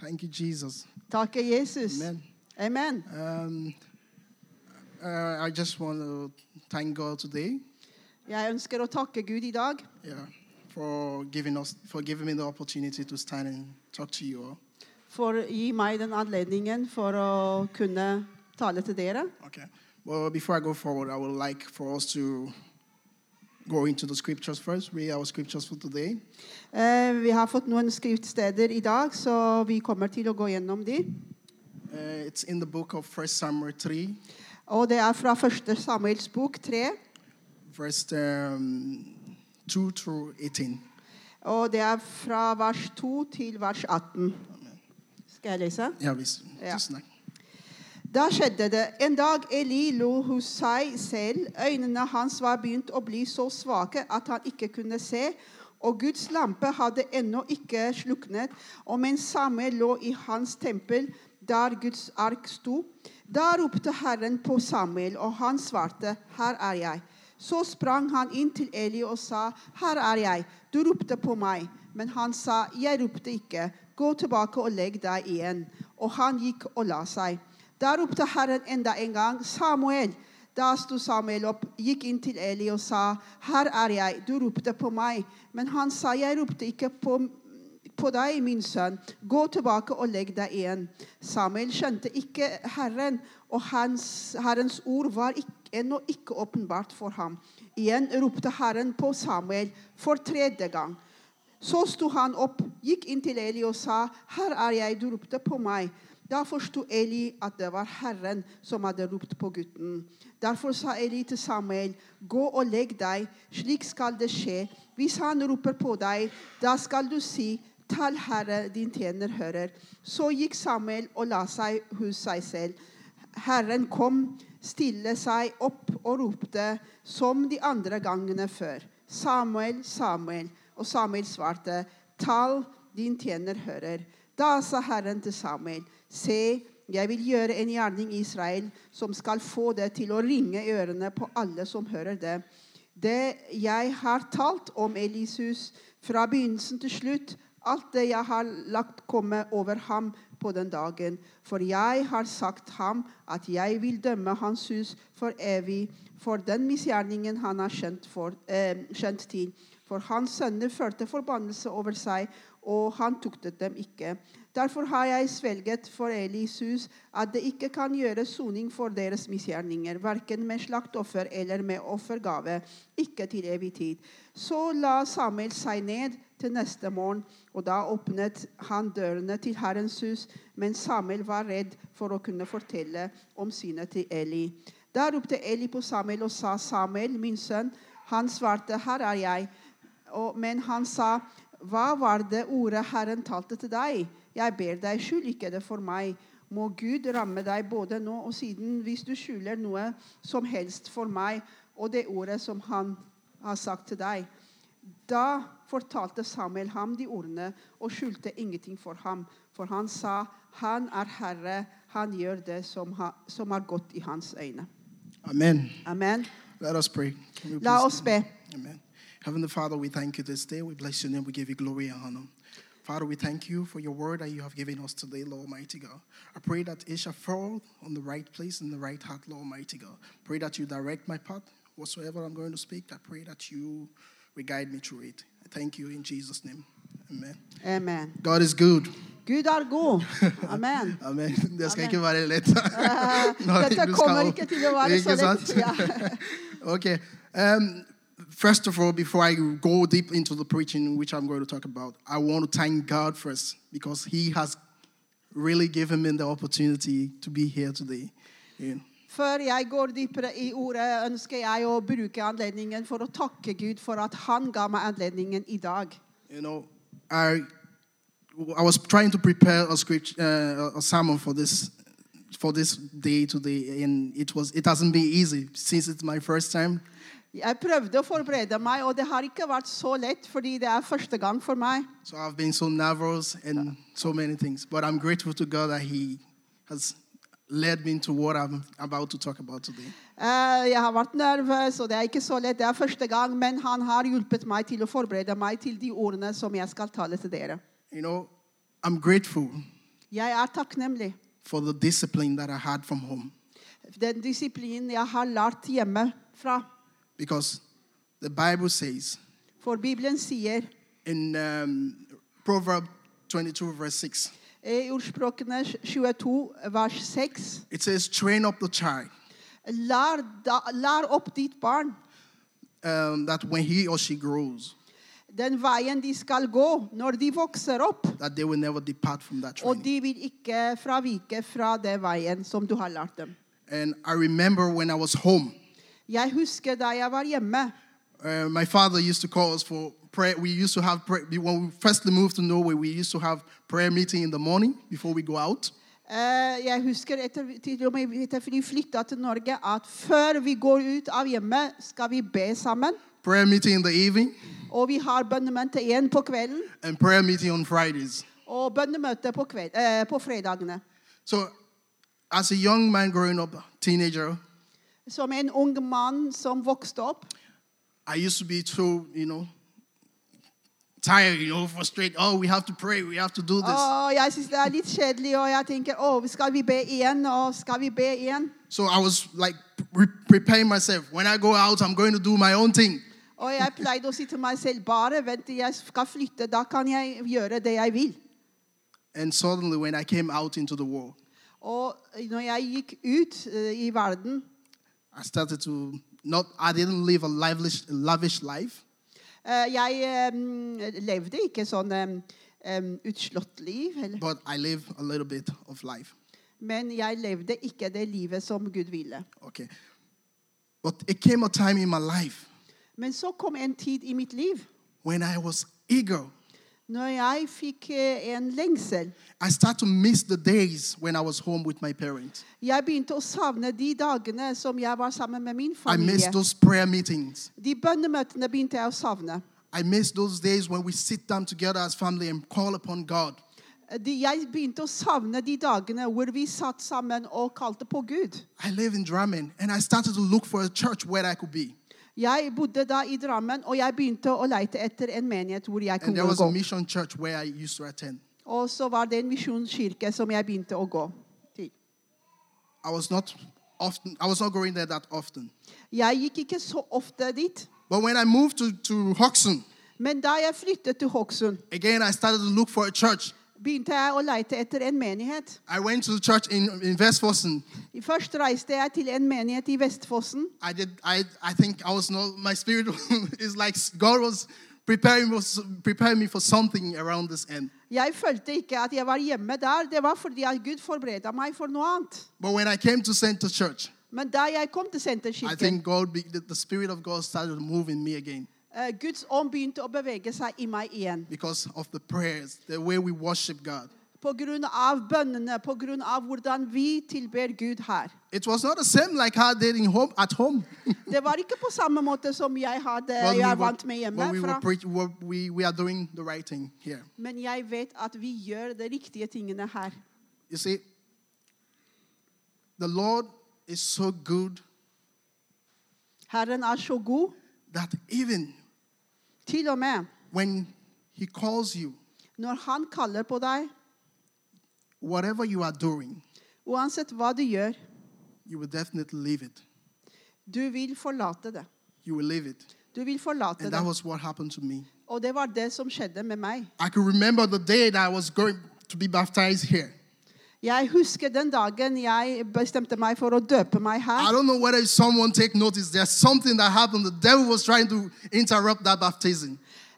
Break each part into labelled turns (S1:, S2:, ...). S1: Thank you, Jesus.
S2: Takke Jesus.
S1: Amen.
S2: Amen.
S1: Um, uh, I just want to thank God today.
S2: Jeg ønsker å takke Gud i dag
S1: Yeah, for giving us for giving me the opportunity to stand and talk to you all.
S2: for å gi meg den anledningen for å kunne tale til dere.
S1: Okay. Well, before I go forward, I would like for us to go into the scriptures first. Read our scriptures for today.
S2: Eh, Vi har fått noen skriftsteder i dag, så vi kommer til å gå gjennom de.
S1: Uh, it's in the book of First Samuel three,
S2: Og det er fra 1. Samuels bok 3,
S1: verse um, two through eighteen.
S2: og det er fra vers 2 til vers 18. Skal jeg lese?
S1: Yeah, please.
S2: Yeah.
S1: Just like-
S2: Da skjedde det. En dag Eli lo hos seg selv. Øynene hans var begynt å bli så svake at han ikke kunne se. Og Guds lampe hadde ennå ikke sluknet. Og mens Samuel lå i hans tempel, der Guds ark sto, da ropte Herren på Samuel, og han svarte, 'Her er jeg'. Så sprang han inn til Eli og sa, 'Her er jeg. Du ropte på meg.' Men han sa, 'Jeg ropte ikke. Gå tilbake og legg deg igjen.' Og han gikk og la seg. Da ropte Herren enda en gang, 'Samuel.' Da sto Samuel opp, gikk inn til Eli og sa, 'Her er jeg. Du ropte på meg.' Men han sa, 'Jeg ropte ikke på på deg, min sønn. Gå tilbake og legg deg igjen. Samuel skjønte ikke Herren, og hans, Herrens ord var ikk- ennå ikke åpenbart for ham. Igjen ropte Herren på Samuel for tredje gang. Så sto han opp, gikk inn til Eli og sa, 'Her er jeg, du ropte på meg.' Da forsto Eli at det var Herren som hadde ropt på gutten. Derfor sa Eli til Samuel, 'Gå og legg deg. Slik skal det skje. Hvis han roper på deg, da skal du si:" Tal Herre, din tjener hører. Så gikk Samuel og la seg hos seg selv. Herren kom, stille seg opp og ropte som de andre gangene før. Samuel, Samuel. Og Samuel svarte, Tal, din tjener hører. Da sa Herren til Samuel, Se, jeg vil gjøre en gjerning i Israel som skal få det til å ringe i ørene på alle som hører det. Det jeg har talt om Elisus fra begynnelsen til slutt, alt det jeg har lagt komme over ham på den dagen. For jeg har sagt ham at jeg vil dømme hans hus for evig for den misgjerningen han har skjønt, for, eh, skjønt til. For hans sønner førte forbannelse over seg, og han tuktet dem ikke. Derfor har jeg svelget for Elis hus at det ikke kan gjøres soning for deres misgjerninger, verken med slaktoffer eller med offergave, ikke til evig tid. Så la Samuel seg ned til neste morgen, og da åpnet han dørene til Herrens hus, men Samuel var redd for å kunne fortelle om synet til Eli. Da ropte Eli på Samuel og sa, 'Samuel, min sønn.' Han svarte, 'Her er jeg.' Og, men han sa, 'Hva var det ordet Herren talte til deg?' 'Jeg ber deg, skjul ikke det for meg.' Må Gud ramme deg både nå og siden hvis du skjuler noe som helst for meg og det ordet som han har sagt til deg. Da fortalte Samuel ham de ordene og skjulte ingenting for ham. For han sa, 'Han er Herre, han gjør det som, ha, som er godt i hans øyne'.
S1: Amen.
S2: Amen.
S1: Let us pray. Can you
S2: La
S1: please-
S2: oss be.
S1: Amen. Heavenly Father, we thank you this day. We bless your name. We give you glory and honor. Father, we thank you for your word that you have given us today, Lord Almighty God. I pray that it shall fall on the right place in the right heart, Lord Almighty God. Pray that you direct my path, whatsoever I'm going to speak. I pray that you will guide me through it. I thank you in Jesus' name. Amen.
S2: Amen.
S1: God is good.
S2: Gud er god. Amen.
S1: Amen. Det skal
S2: Amen.
S1: ikke være lett.
S2: dette
S1: Når du
S2: kommer
S1: skal-
S2: ikke til å være
S1: Ikke
S2: så lett,
S1: sant? okay. Um, first of all, before I go deep into the preaching, which I'm going to talk about, I want to thank God first because He has really given me the opportunity to be here today. You know.
S2: Før jeg går dypere i ordet, ønsker jeg å bruke anledningen for å takke Gud for at han ga meg anledningen i dag.
S1: You know, I I was trying to prepare a script, uh, a sermon for this for this day today, and it was it hasn't been easy since it's my first time.
S2: Jeg prøvde å forberede meg, og det har ikke vært så lett, fordi det er første gang for meg.
S1: So I've been so nervous and so many things, but I'm grateful to God that He has led me into what I'm about to talk about today.
S2: Eh, Jeg har vært nervøs, og det er ikke så lett. Det er første gang, men han har hjulpet meg til å forberede meg til de ordene som jeg skal tale til dere.
S1: You know, I'm grateful
S2: Jeg er takknemlig
S1: for the discipline that I had from home
S2: for den disiplinen jeg har lært hjemmefra.
S1: because the Bible says
S2: For Bibelen sier
S1: in um, Proverb 22, verse 6,
S2: i Ordspråkene 22, vers 6
S1: it says, Train up the child
S2: lær, da, lær opp ditt barn
S1: um, that when he or she grows,
S2: den veien de skal gå når de vokser opp.
S1: that they will never depart from that
S2: Og
S1: training.
S2: de vil ikke fravike fra den veien som du har lært dem.
S1: and I remember when I was home,
S2: Jeg husker da jeg var hjemme.
S1: uh, my father used to call us for prayer. We used to have prayer. When we first moved to Norway, we used to have prayer meeting in the morning before we go out.
S2: Eh, Jeg husker etter, til og med etter vi flytta til Norge, at før vi går ut av hjemmet, skal vi be sammen.
S1: Prayer meeting in the evening
S2: Og vi har bønnemøte igjen på kvelden
S1: and prayer meeting on Fridays.
S2: og bønnemøte på, kveld, eh, på fredagene.
S1: So, as a young man growing up, teenager,
S2: Som en ung mann som vokste opp,
S1: I used to be so, you know, tired, you know, frustrated. Oh, we have to pray. We have to do this.
S2: Å, jeg syns det er litt kjedelig, og jeg tenker å, skal vi be igjen? Og skal vi be igjen?
S1: so I was like pre- preparing myself. When I go out, I'm going to do my own thing.
S2: Og jeg pleide å si til meg selv bare vent til jeg skal flytte, da kan jeg gjøre det jeg vil.
S1: And suddenly, when I came out into the world,
S2: Og når jeg gikk ut eh, i verden,
S1: I started to not. I didn't live a lavish, lavish life,
S2: eh, jeg eh, levde ikke sånn eh, em, utslått liv, eller,
S1: but I lived a little bit of life.
S2: men jeg levde ikke det livet som Gud ville.
S1: Okay, but it came a time in my life
S2: Men så kom en tid i mitt liv
S1: when I was eager.
S2: når jeg fikk eh, en lengsel.
S1: I started to miss the days when I was home with my parents.
S2: Jeg begynte å savne de dagene som jeg var sammen med min
S1: I missed
S2: familie.
S1: those prayer meetings.
S2: De bønnemøtene begynte jeg å savne.
S1: I miss those days when we sit down together as family and call upon God.
S2: De, jeg begynte å savne de dagene hvor vi satt sammen og kalte på Gud.
S1: I live in Drammen and I started to look for a church where I could be.
S2: Jeg bodde da i Drammen, og jeg begynte å leite etter en menighet hvor jeg
S1: And there
S2: kunne
S1: was
S2: gå.
S1: a mission church where I used to attend.
S2: Og så var det en misjonskirke som jeg begynte å gå til.
S1: I was not often I was not going there that often.
S2: Jeg gikk ikke så ofte dit,
S1: But when I moved to, to Hoxton,
S2: men da jeg flyttet til Hokksund,
S1: again I started to look for a church.
S2: begynte jeg å leite etter en menighet.
S1: I went to the church in, in Vestfossen.
S2: Først reiste jeg til en menighet i Vestfossen.
S1: I did I I think I was not my spirit is like God was preparing was preparing me for something around this end.
S2: Jeg følte ikke at jeg var hjemme der. Det var fordi at Gud forberedte meg for noe annet.
S1: But when I came to Center Church,
S2: Men da jeg kom til
S1: I
S2: Senterkirken
S1: think God, be- the the Spirit of God started to move in me again
S2: Eh, Guds ånd begynte å bevege seg i meg igjen.
S1: because of the prayers, the way we worship God.
S2: På grunn av bønnene, på grunn av hvordan vi tilber Gud her.
S1: It was not the same like how I did in home, at home.
S2: Det var ikke på samme måte som jeg, hadde,
S1: But
S2: jeg er
S1: were-
S2: vant med
S1: but we, were
S2: hjemmefra.
S1: preach- we, we, we are doing the right thing here.
S2: Men jeg vet at vi gjør de riktige tingene her.
S1: You see, the Lord is so good
S2: Herren er så god.
S1: that even
S2: Til og med
S1: when He calls you,
S2: når Han kaller på deg,
S1: whatever you are doing,
S2: uansett hva du gjør,
S1: you will definitely leave it.
S2: du vil forlate det.
S1: You will leave it.
S2: Du vil forlate
S1: And
S2: det.
S1: that was what happened to me.
S2: Og det var det som skjedde med meg.
S1: I can remember the day that I was going to be baptized here.
S2: Jeg husker den dagen jeg bestemte meg for å døpe meg her.
S1: I don't know whether someone take notice. There's something that happened. The devil was trying to interrupt that baptism.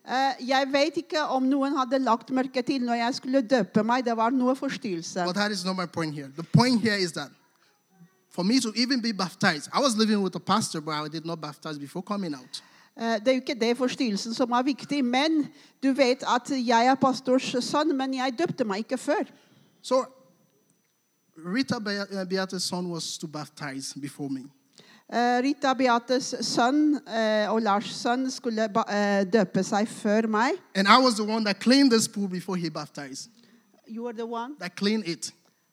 S2: Eh, Jeg vet ikke om noen hadde lagt mørke til når jeg skulle døpe meg. Det var noe forstyrrelse.
S1: But that is not my point here. The point here is that for me to even be baptized, I was living with a pastor, but I did not baptize before coming out.
S2: Eh, Det er jo ikke det forstyrrelsen som er viktig, men du vet at jeg er pastors sønn, men jeg døpte meg ikke før.
S1: So Rita Be- uh, Beate's son was to baptize before me.
S2: Eh, Rita Beates sønn eh, og Lars sønn skulle ba- eh, døpe seg før meg.
S1: And I was the one that cleaned this pool before he baptized.
S2: You were the one.
S1: That cleaned it.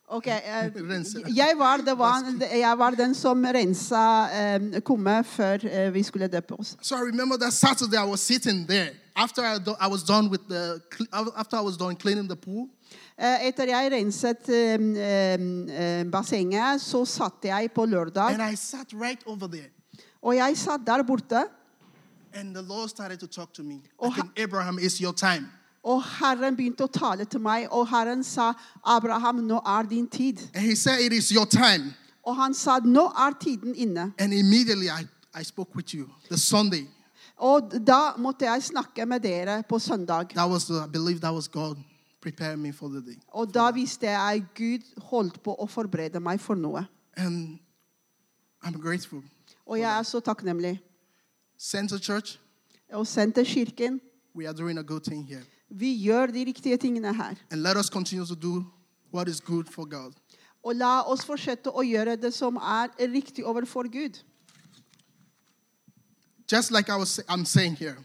S2: Ok, eh,
S1: Rense.
S2: jeg, var the one jeg var den som rensa eh, kummet før eh, vi skulle døpe oss.
S1: So I remember that Saturday I was sitting there after I, do- I was done with the cl- after I was done cleaning the pool.
S2: Eh, Etter jeg renset eh, eh, bassenget, så satt jeg på lørdag.
S1: And I sat right over there.
S2: Og jeg satt der borte,
S1: And the Lord started to talk to me.
S2: Oh,
S1: Like,
S2: ha-
S1: Abraham, it's your time.
S2: og Herren begynte å tale til meg. Og Herren sa, 'Abraham, nå er din tid.'
S1: And he said, It is your time.
S2: Og han sa, 'Nå er tiden inne'.
S1: And immediately I, I spoke with you the Sunday.
S2: Og da måtte jeg snakke med dere på søndag.
S1: That was, the, I believe that was God preparing me for the day.
S2: Og da visste jeg Gud holdt på å forberede meg for noe.
S1: And I'm grateful.
S2: Og jeg er så takknemlig.
S1: Center Church,
S2: Og sendt til kirken.
S1: we are doing a good thing here.
S2: Vi gjør de riktige tingene her.
S1: And let us continue to do what is good for God.
S2: Og la oss fortsette å gjøre det som er riktig overfor Gud.
S1: Just like I was, I'm saying here,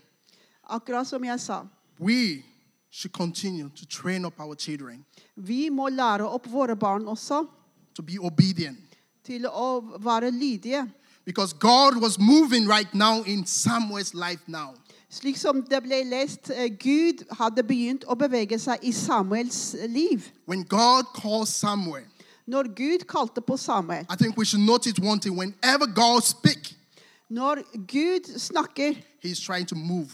S2: Akkurat som jeg sa.
S1: we should continue to train up our children
S2: Vi må lære opp våre barn også
S1: to be obedient.
S2: til å være lydige.
S1: Because God was moving right now in Samuel's life now.
S2: Slik som det ble lest, eh, Gud hadde begynt å bevege seg i Samuels liv.
S1: When God calls Samuel,
S2: Når Gud kalte på Samuel,
S1: I think we should notice one thing. Whenever God speaks,
S2: når Gud snakker,
S1: He's trying to move.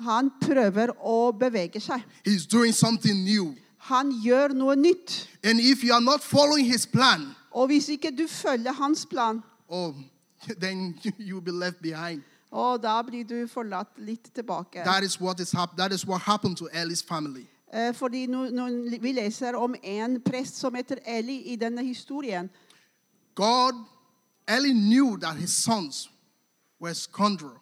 S2: han prøver å bevege seg.
S1: He's doing something new.
S2: Han gjør noe nytt.
S1: And if you are not following His plan,
S2: Og hvis ikke du følger hans plan,
S1: oh, then you will be left behind.
S2: å, da blir du forlatt litt tilbake.
S1: That is what is hap- That is what happened to Eli's family.
S2: Eh, Fordi nå- nå- vi leser om en prest som heter Eli i denne historien.
S1: God, Eli knew that his sons were scoundrels.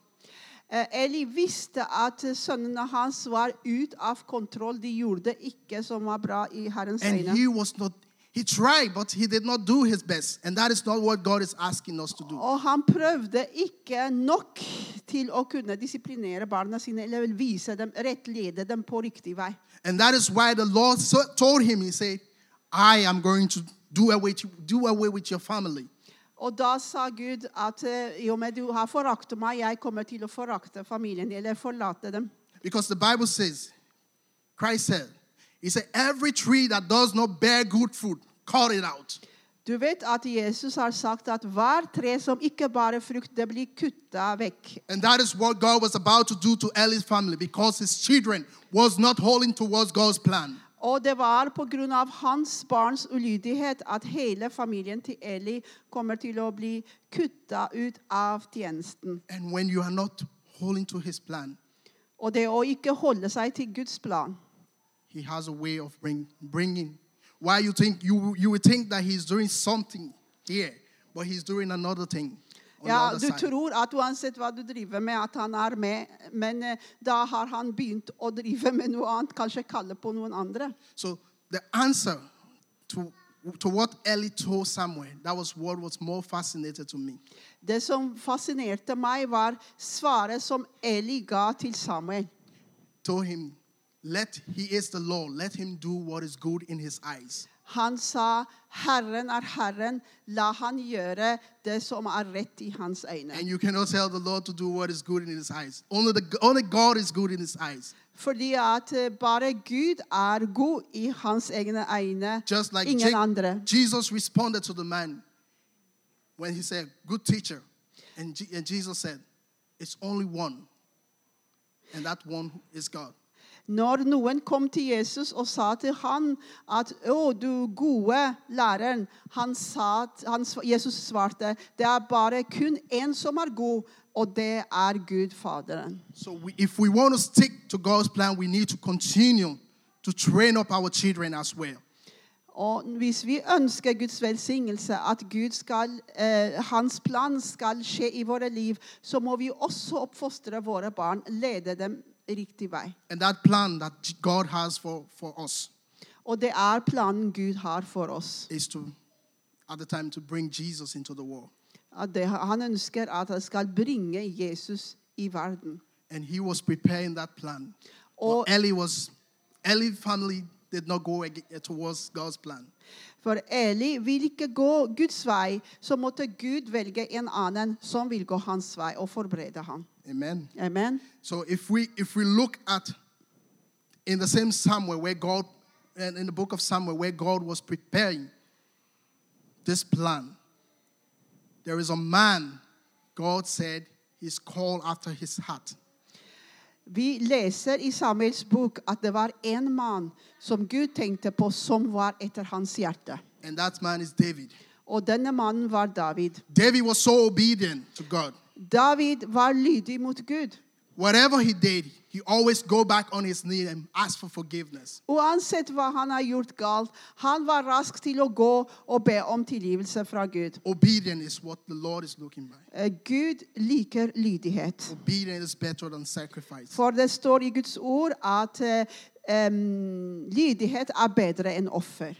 S2: Eh, Eli visste at sønnene hans var ut av kontroll. De gjorde ikke som var bra i Herrens
S1: And
S2: øyne.
S1: he was not, he tried, but he did not do his best. And that is not what God is asking us to do.
S2: Og han prøvde ikke nok til å kunne disiplinere barna sine eller vise dem, rettlede dem på riktig vei.
S1: And that is why the Lord so- told him, He said, I am going to do away, to, do away with your family.
S2: Og da sa Gud at eh, i og med du har foraktet meg, jeg kommer til å forakte familien din, eller forlate dem.
S1: Because the Bible says, Christ said, He said, every tree that does not bear good fruit, cut it out.
S2: Du vet at Jesus har sagt at hver tre som ikke bærer frukt, det blir kutta vekk.
S1: And that is what God was about to do to Eli's family because his children was not holding towards God's plan.
S2: Og det var pga. hans barns ulydighet at hele familien til Eli kommer til å bli kutta ut av tjenesten.
S1: And when you are not holding to his plan,
S2: Og det å ikke holde seg til Guds plan.
S1: He has a way of bring, bringing. Why you think you you would think that he's doing something here, but he's doing another thing on
S2: Ja,
S1: the
S2: Du
S1: other side.
S2: tror at uansett hva du driver med, at han er med, men eh, da har han begynt å drive med noe annet. Kanskje kalle på noen andre.
S1: So the answer to to what Eli told Samuel, that was what was more fascinated to me.
S2: Det som fascinerte meg, var svaret som Eli ga til Samuel.
S1: Told him, let he is the Lord, let him do what is good in his eyes.
S2: Han sa, 'Herren er Herren, la han gjøre det som er rett i hans øyne'.
S1: And you cannot tell the Lord to do what is good in his eyes. Only the only God is good in his eyes.
S2: Fordi at eh, bare Gud er god i hans egne øyne,
S1: Just like
S2: ingen
S1: Je-
S2: andre.
S1: Jesus responded to the man when he said, Good teacher. And, Je- and Jesus said, It's only one. And that one is God.
S2: Når noen kom til Jesus og sa til han at 'Å, du gode læreren', han sa, at- han, sv- Jesus svarte 'Det er bare kun én som er god, og det er Gud Faderen'.
S1: So we, if we want to stick to God's plan, we need to continue to train up our children as well.
S2: Og hvis vi ønsker Guds velsignelse, at Gud skal, eh, hans plan skal skje i våre liv, så må vi også oppfostre våre barn, lede dem riktig vei.
S1: And that plan that J- God has for, for us
S2: Og det er planen Gud har for oss.
S1: is to, at the time, to bring Jesus into the world.
S2: At det, han ønsker at han skal bringe Jesus i verden.
S1: And he was preparing that plan.
S2: Or-
S1: But Eli was, Eli family did not go ag- towards God's plan.
S2: For Eli vil ikke gå Guds vei, så måtte Gud velge en annen som vil gå hans vei, og forberede ham.
S1: Amen.
S2: Amen.
S1: So if we if we look at in the same Samuel where God in in the book of Samuel where God was preparing this plan. There is a man, God said, he's called after his heart.
S2: Vi leser i Samuels bok at det var en mann som Gud tenkte på, som var etter hans hjerte.
S1: And that man is David.
S2: Og denne mannen var David.
S1: David was so obedient to God.
S2: David var lydig mot Gud.
S1: Whatever he did, he always go back on his knee and ask for forgiveness.
S2: Uansett hva han har gjort galt, han var rask til å gå og be om tilgivelse fra Gud.
S1: Obedience is what the Lord is looking by.
S2: Eh, Gud liker lydighet.
S1: Obedience is better than sacrifice.
S2: For det står i Guds ord at eh, em, lydighet er bedre enn offer.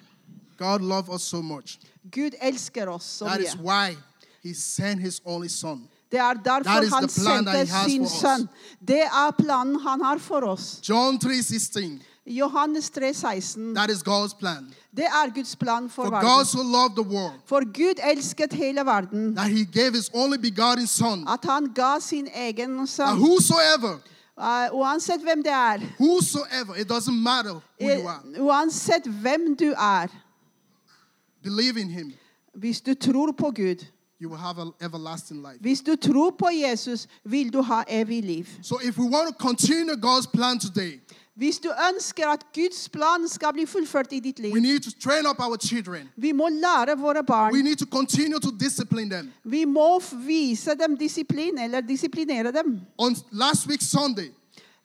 S1: God loved us so much.
S2: Gud elsker oss så
S1: That is
S2: mye.
S1: why he sent his only son
S2: Det er
S1: That
S2: derfor
S1: is
S2: han
S1: the plan that
S2: sendte
S1: he has
S2: sin
S1: for us.
S2: sønn. Det er planen han har for oss.
S1: John 3:16.
S2: Johannes 3, 16.
S1: That is God's plan.
S2: Det er Guds plan for,
S1: For God
S2: verden.
S1: so loved the world
S2: For Gud elsket hele verden.
S1: that he gave his only begotten son.
S2: At han ga sin egen
S1: That
S2: sønn.
S1: whosoever,
S2: Eh, Uansett hvem det er.
S1: whosoever, it doesn't matter who you
S2: eh,
S1: are,
S2: Uansett hvem du er.
S1: believe in him,
S2: Hvis du tror på Gud,
S1: you will have an everlasting life.
S2: hvis du tror på Jesus, vil du ha evig liv.
S1: So if we want to continue God's plan today,
S2: Hvis du ønsker at Guds plan skal bli fullført i ditt liv,
S1: we need to train up our children.
S2: vi må lære våre
S1: We
S2: barn.
S1: need to continue to discipline them.
S2: Vi må f- vise dem disiplin, eller disiplinere dem.
S1: On last week Sunday,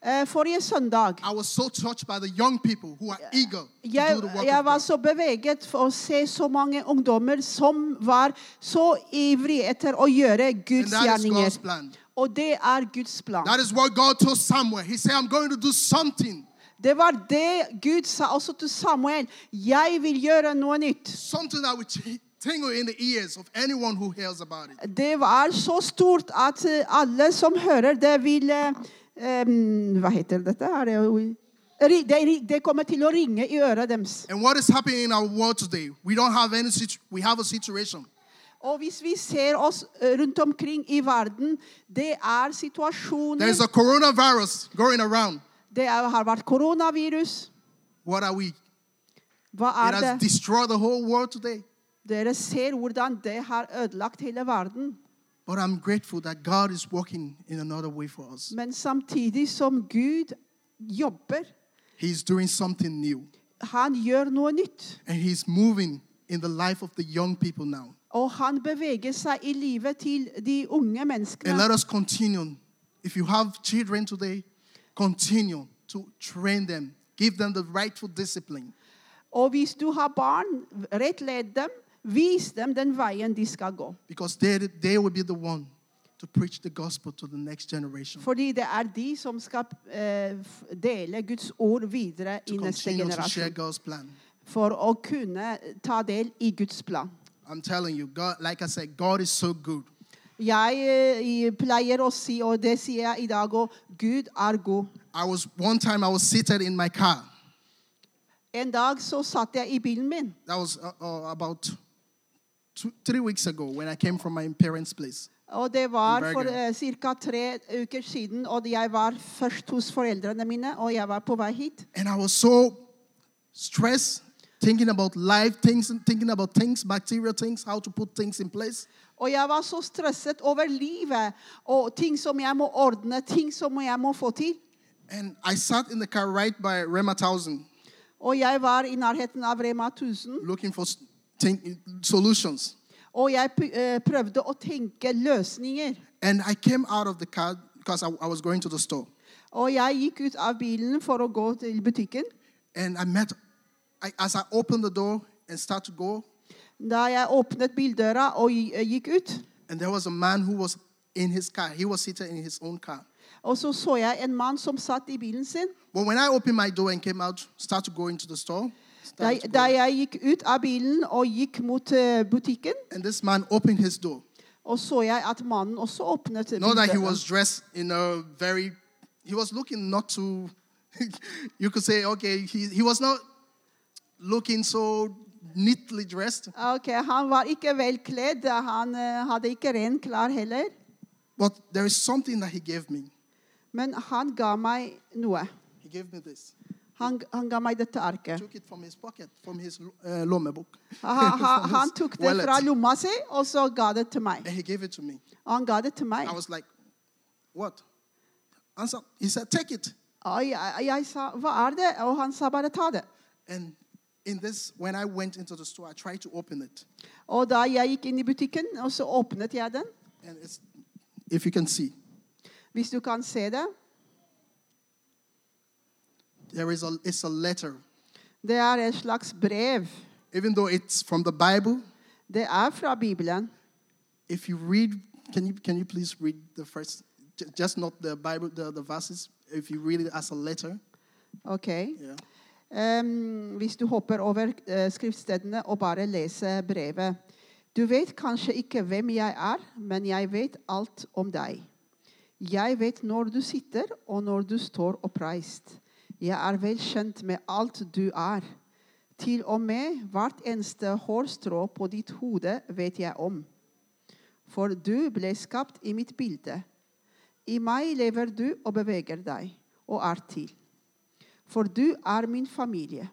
S2: Eh, Forrige søndag
S1: I was so touched by the young people who are eager to
S2: jeg,
S1: do the work
S2: jeg
S1: of
S2: var
S1: God.
S2: så beveget for å se så mange ungdommer som var så ivrige etter å gjøre
S1: And
S2: Guds
S1: that is God's
S2: gjerninger.
S1: plan.
S2: Og det er Guds plan.
S1: That is what God told Samuel. He said, I'm going to do something,
S2: Det var det Gud sa også til Samuel. 'Jeg vil gjøre noe nytt.'
S1: something that would t- tingle in the ears of anyone who hears about it.
S2: Det var så stort at eh, alle som hører det, vil eh, em, Hva heter dette? Er det, jo- Ri- det, ri- det kommer til å ringe i øret deres.
S1: And what is happening in our world today? We don't have any situ- we have a situation
S2: Og hvis vi ser oss eh, rundt omkring i verden, det er situasjoner
S1: There's a coronavirus going around.
S2: Det er, har vært koronavirus.
S1: What are we? It
S2: Hva er altså
S1: has
S2: det?
S1: destroyed the whole world today.
S2: Dere ser hvordan det har ødelagt hele verden.
S1: But I'm grateful that God is working in another way for us.
S2: Men samtidig som Gud jobber,
S1: He's doing something new.
S2: han gjør noe nytt.
S1: And He's moving in the life of the young people now.
S2: Og han beveger seg i livet til de unge
S1: And
S2: menneskene.
S1: let us continue. If you have children today, continue to train them, give them the rightful discipline.
S2: Og hvis du har barn, rettled dem. Vis dem den veien de skal gå.
S1: Because they, they will be the one to preach the gospel to the next generation.
S2: Fordi det er de som skal eh, f- dele Guds ord videre
S1: To
S2: i neste
S1: continue to share
S2: generasjon.
S1: God's plan.
S2: For å kunne ta del i Guds plan.
S1: I'm telling you, God, like I said, God is so good.
S2: Jeg eh, pleier å si, og det sier jeg i dag òg, Gud er god.
S1: I was one time I was seated in my car.
S2: En dag så satt jeg i bilen min.
S1: That was uh, uh, about two, three weeks ago when I came from my parents' place.
S2: Og det var
S1: Bergen.
S2: for eh, ca. tre uker siden. Og jeg var først hos foreldrene mine, og jeg var på vei hit.
S1: And I was so stressed, thinking about life, things, and thinking about things, bacterial things, how to put things in place.
S2: Og jeg var så stresset over livet og ting som jeg må ordne, ting som jeg må få til.
S1: And I sat in the car right by Rema 1000
S2: Og jeg var i nærheten av Rema 1000,
S1: looking for s- think, solutions.
S2: og jeg p- eh, prøvde å tenke løsninger.
S1: And I came out of the car because I, I was going to the store.
S2: Og jeg gikk ut av bilen for å gå til butikken.
S1: And I met, I, as I opened the door and started to go,
S2: Da jeg åpnet bildøra og gi- eh, gikk ut,
S1: and there was a man who was in his car. He was seated in his own car.
S2: og så så jeg en mann som satt i bilen sin.
S1: But when I opened my door and came out, started to go into the store,
S2: Da,
S1: started to go
S2: da
S1: in,
S2: jeg gikk ut av bilen og gikk mot eh, butikken,
S1: and this man opened his door.
S2: og så jeg at mannen også åpnet
S1: Not that he
S2: bildøra.
S1: was dressed in a very, he was looking not too, you could say, okay, he, he was not looking so neatly dressed,
S2: Ok, Han var ikke vel kledd. Han eh, hadde ikke ren klær heller.
S1: but there is something that he gave me.
S2: Men han ga meg noe.
S1: He gave me this.
S2: Han, han ga meg dette arket.
S1: took it from his pocket, from his uh, lommebook.
S2: Han, han, han tok det
S1: Wallet.
S2: fra lomma si, og så ga det til meg.
S1: And he gave it to me.
S2: Og han ga det til meg.
S1: I was like, what? Answer. He said, take it.
S2: Og jeg, jeg sa 'hva er det?' Og han sa bare 'ta det'.
S1: And in this, when I went into the store, I tried to open it.
S2: Og da jeg gikk inn i butikken, og så åpnet jeg den.
S1: And it's, if you can see,
S2: Hvis du kan se det.
S1: there is a, it's a letter.
S2: Det er et slags brev.
S1: Even though it's from the Bible,
S2: Det er fra Bibelen.
S1: if you read, can you, can you please read the first, ju- just not the Bible, the, the verses, if you read it as a letter.
S2: Ok.
S1: Yeah.
S2: Em, hvis du hopper over eh, skriftstedene og bare leser brevet. Du vet kanskje ikke hvem jeg er, men jeg vet alt om deg. Jeg vet når du sitter, og når du står oppreist. Jeg er vel kjent med alt du er. Til og med hvert eneste hårstrå på ditt hode vet jeg om. For du ble skapt i mitt bilde. I meg lever du og beveger deg, og er til. For du er min familie.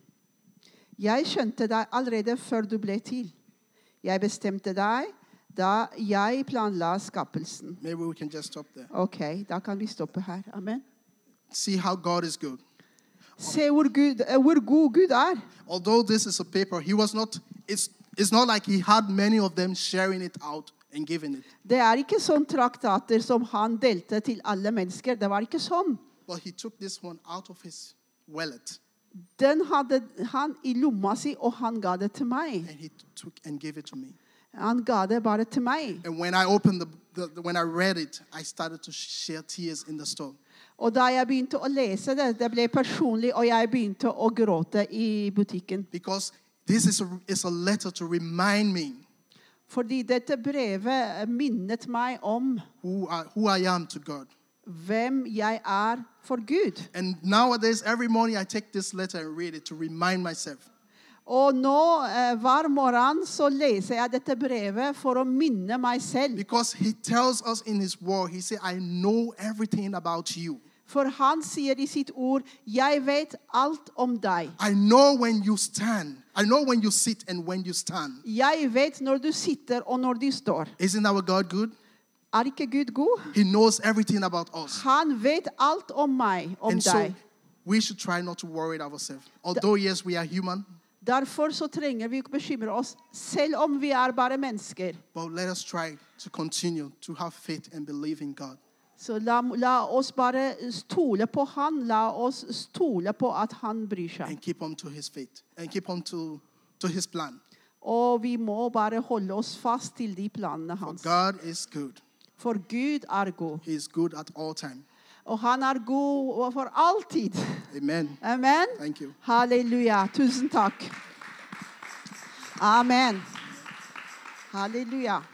S2: Jeg skjønte deg allerede før du ble til. Jeg bestemte deg da jeg planla skapelsen.
S1: Maybe we can just stop there.
S2: Ok, da kan vi stoppe her. Amen.
S1: See how God is good.
S2: Se hvor, Gud, eh, hvor god Gud er.
S1: although this is a paper, he was not, it's, it's not like he had many of them sharing it out and giving it,
S2: Det er ikke sånn traktater som han delte til alle mennesker. Det var ikke sånn.
S1: but he took this one out of his wallet
S2: Den hadde han i lomma si, og han ga det til meg.
S1: and he took and gave it to me.
S2: Han ga det bare til meg.
S1: And when I opened the, the, the- when I read it, I started to share tears in the store.
S2: Og da jeg begynte å lese det, det ble personlig, og jeg begynte å gråte i butikken.
S1: Because this is a, is a letter to remind me
S2: Fordi dette brevet minnet meg om
S1: who I, who I am to God.
S2: hvem jeg er for Gud.
S1: And nowadays, every morning I take this letter and read it to remind myself.
S2: Og nå eh, hver morgen så leser jeg dette brevet for å minne meg selv.
S1: Because he tells us in his word, he said, I know everything about you.
S2: For han sier i sitt ord, 'Jeg vet alt om deg'.
S1: I know when you stand. I know when you sit and when you stand.
S2: Jeg vet når du sitter og når du står.
S1: Isn't our God good?
S2: Er ikke Gud god?
S1: He knows everything about us.
S2: Han vet alt om meg, om
S1: and so
S2: deg.
S1: we should try not to worry ourselves. Although, yes, we are human,
S2: Derfor så trenger vi ikke bekymre oss, selv om vi er bare mennesker.
S1: but let us try to continue to have faith and believe in God.
S2: Så la, la oss bare stole på han. La oss stole på at han bryr seg.
S1: And keep on to his faith and keep on to, to his plan.
S2: Og vi må bare holde oss fast til de planene
S1: For
S2: hans.
S1: God is good.
S2: For Gud er god.
S1: He is good at all time.
S2: Og han er god for alltid.
S1: Amen.
S2: Amen.
S1: Thank you.
S2: Halleluja. Tusen takk. Amen. Halleluja.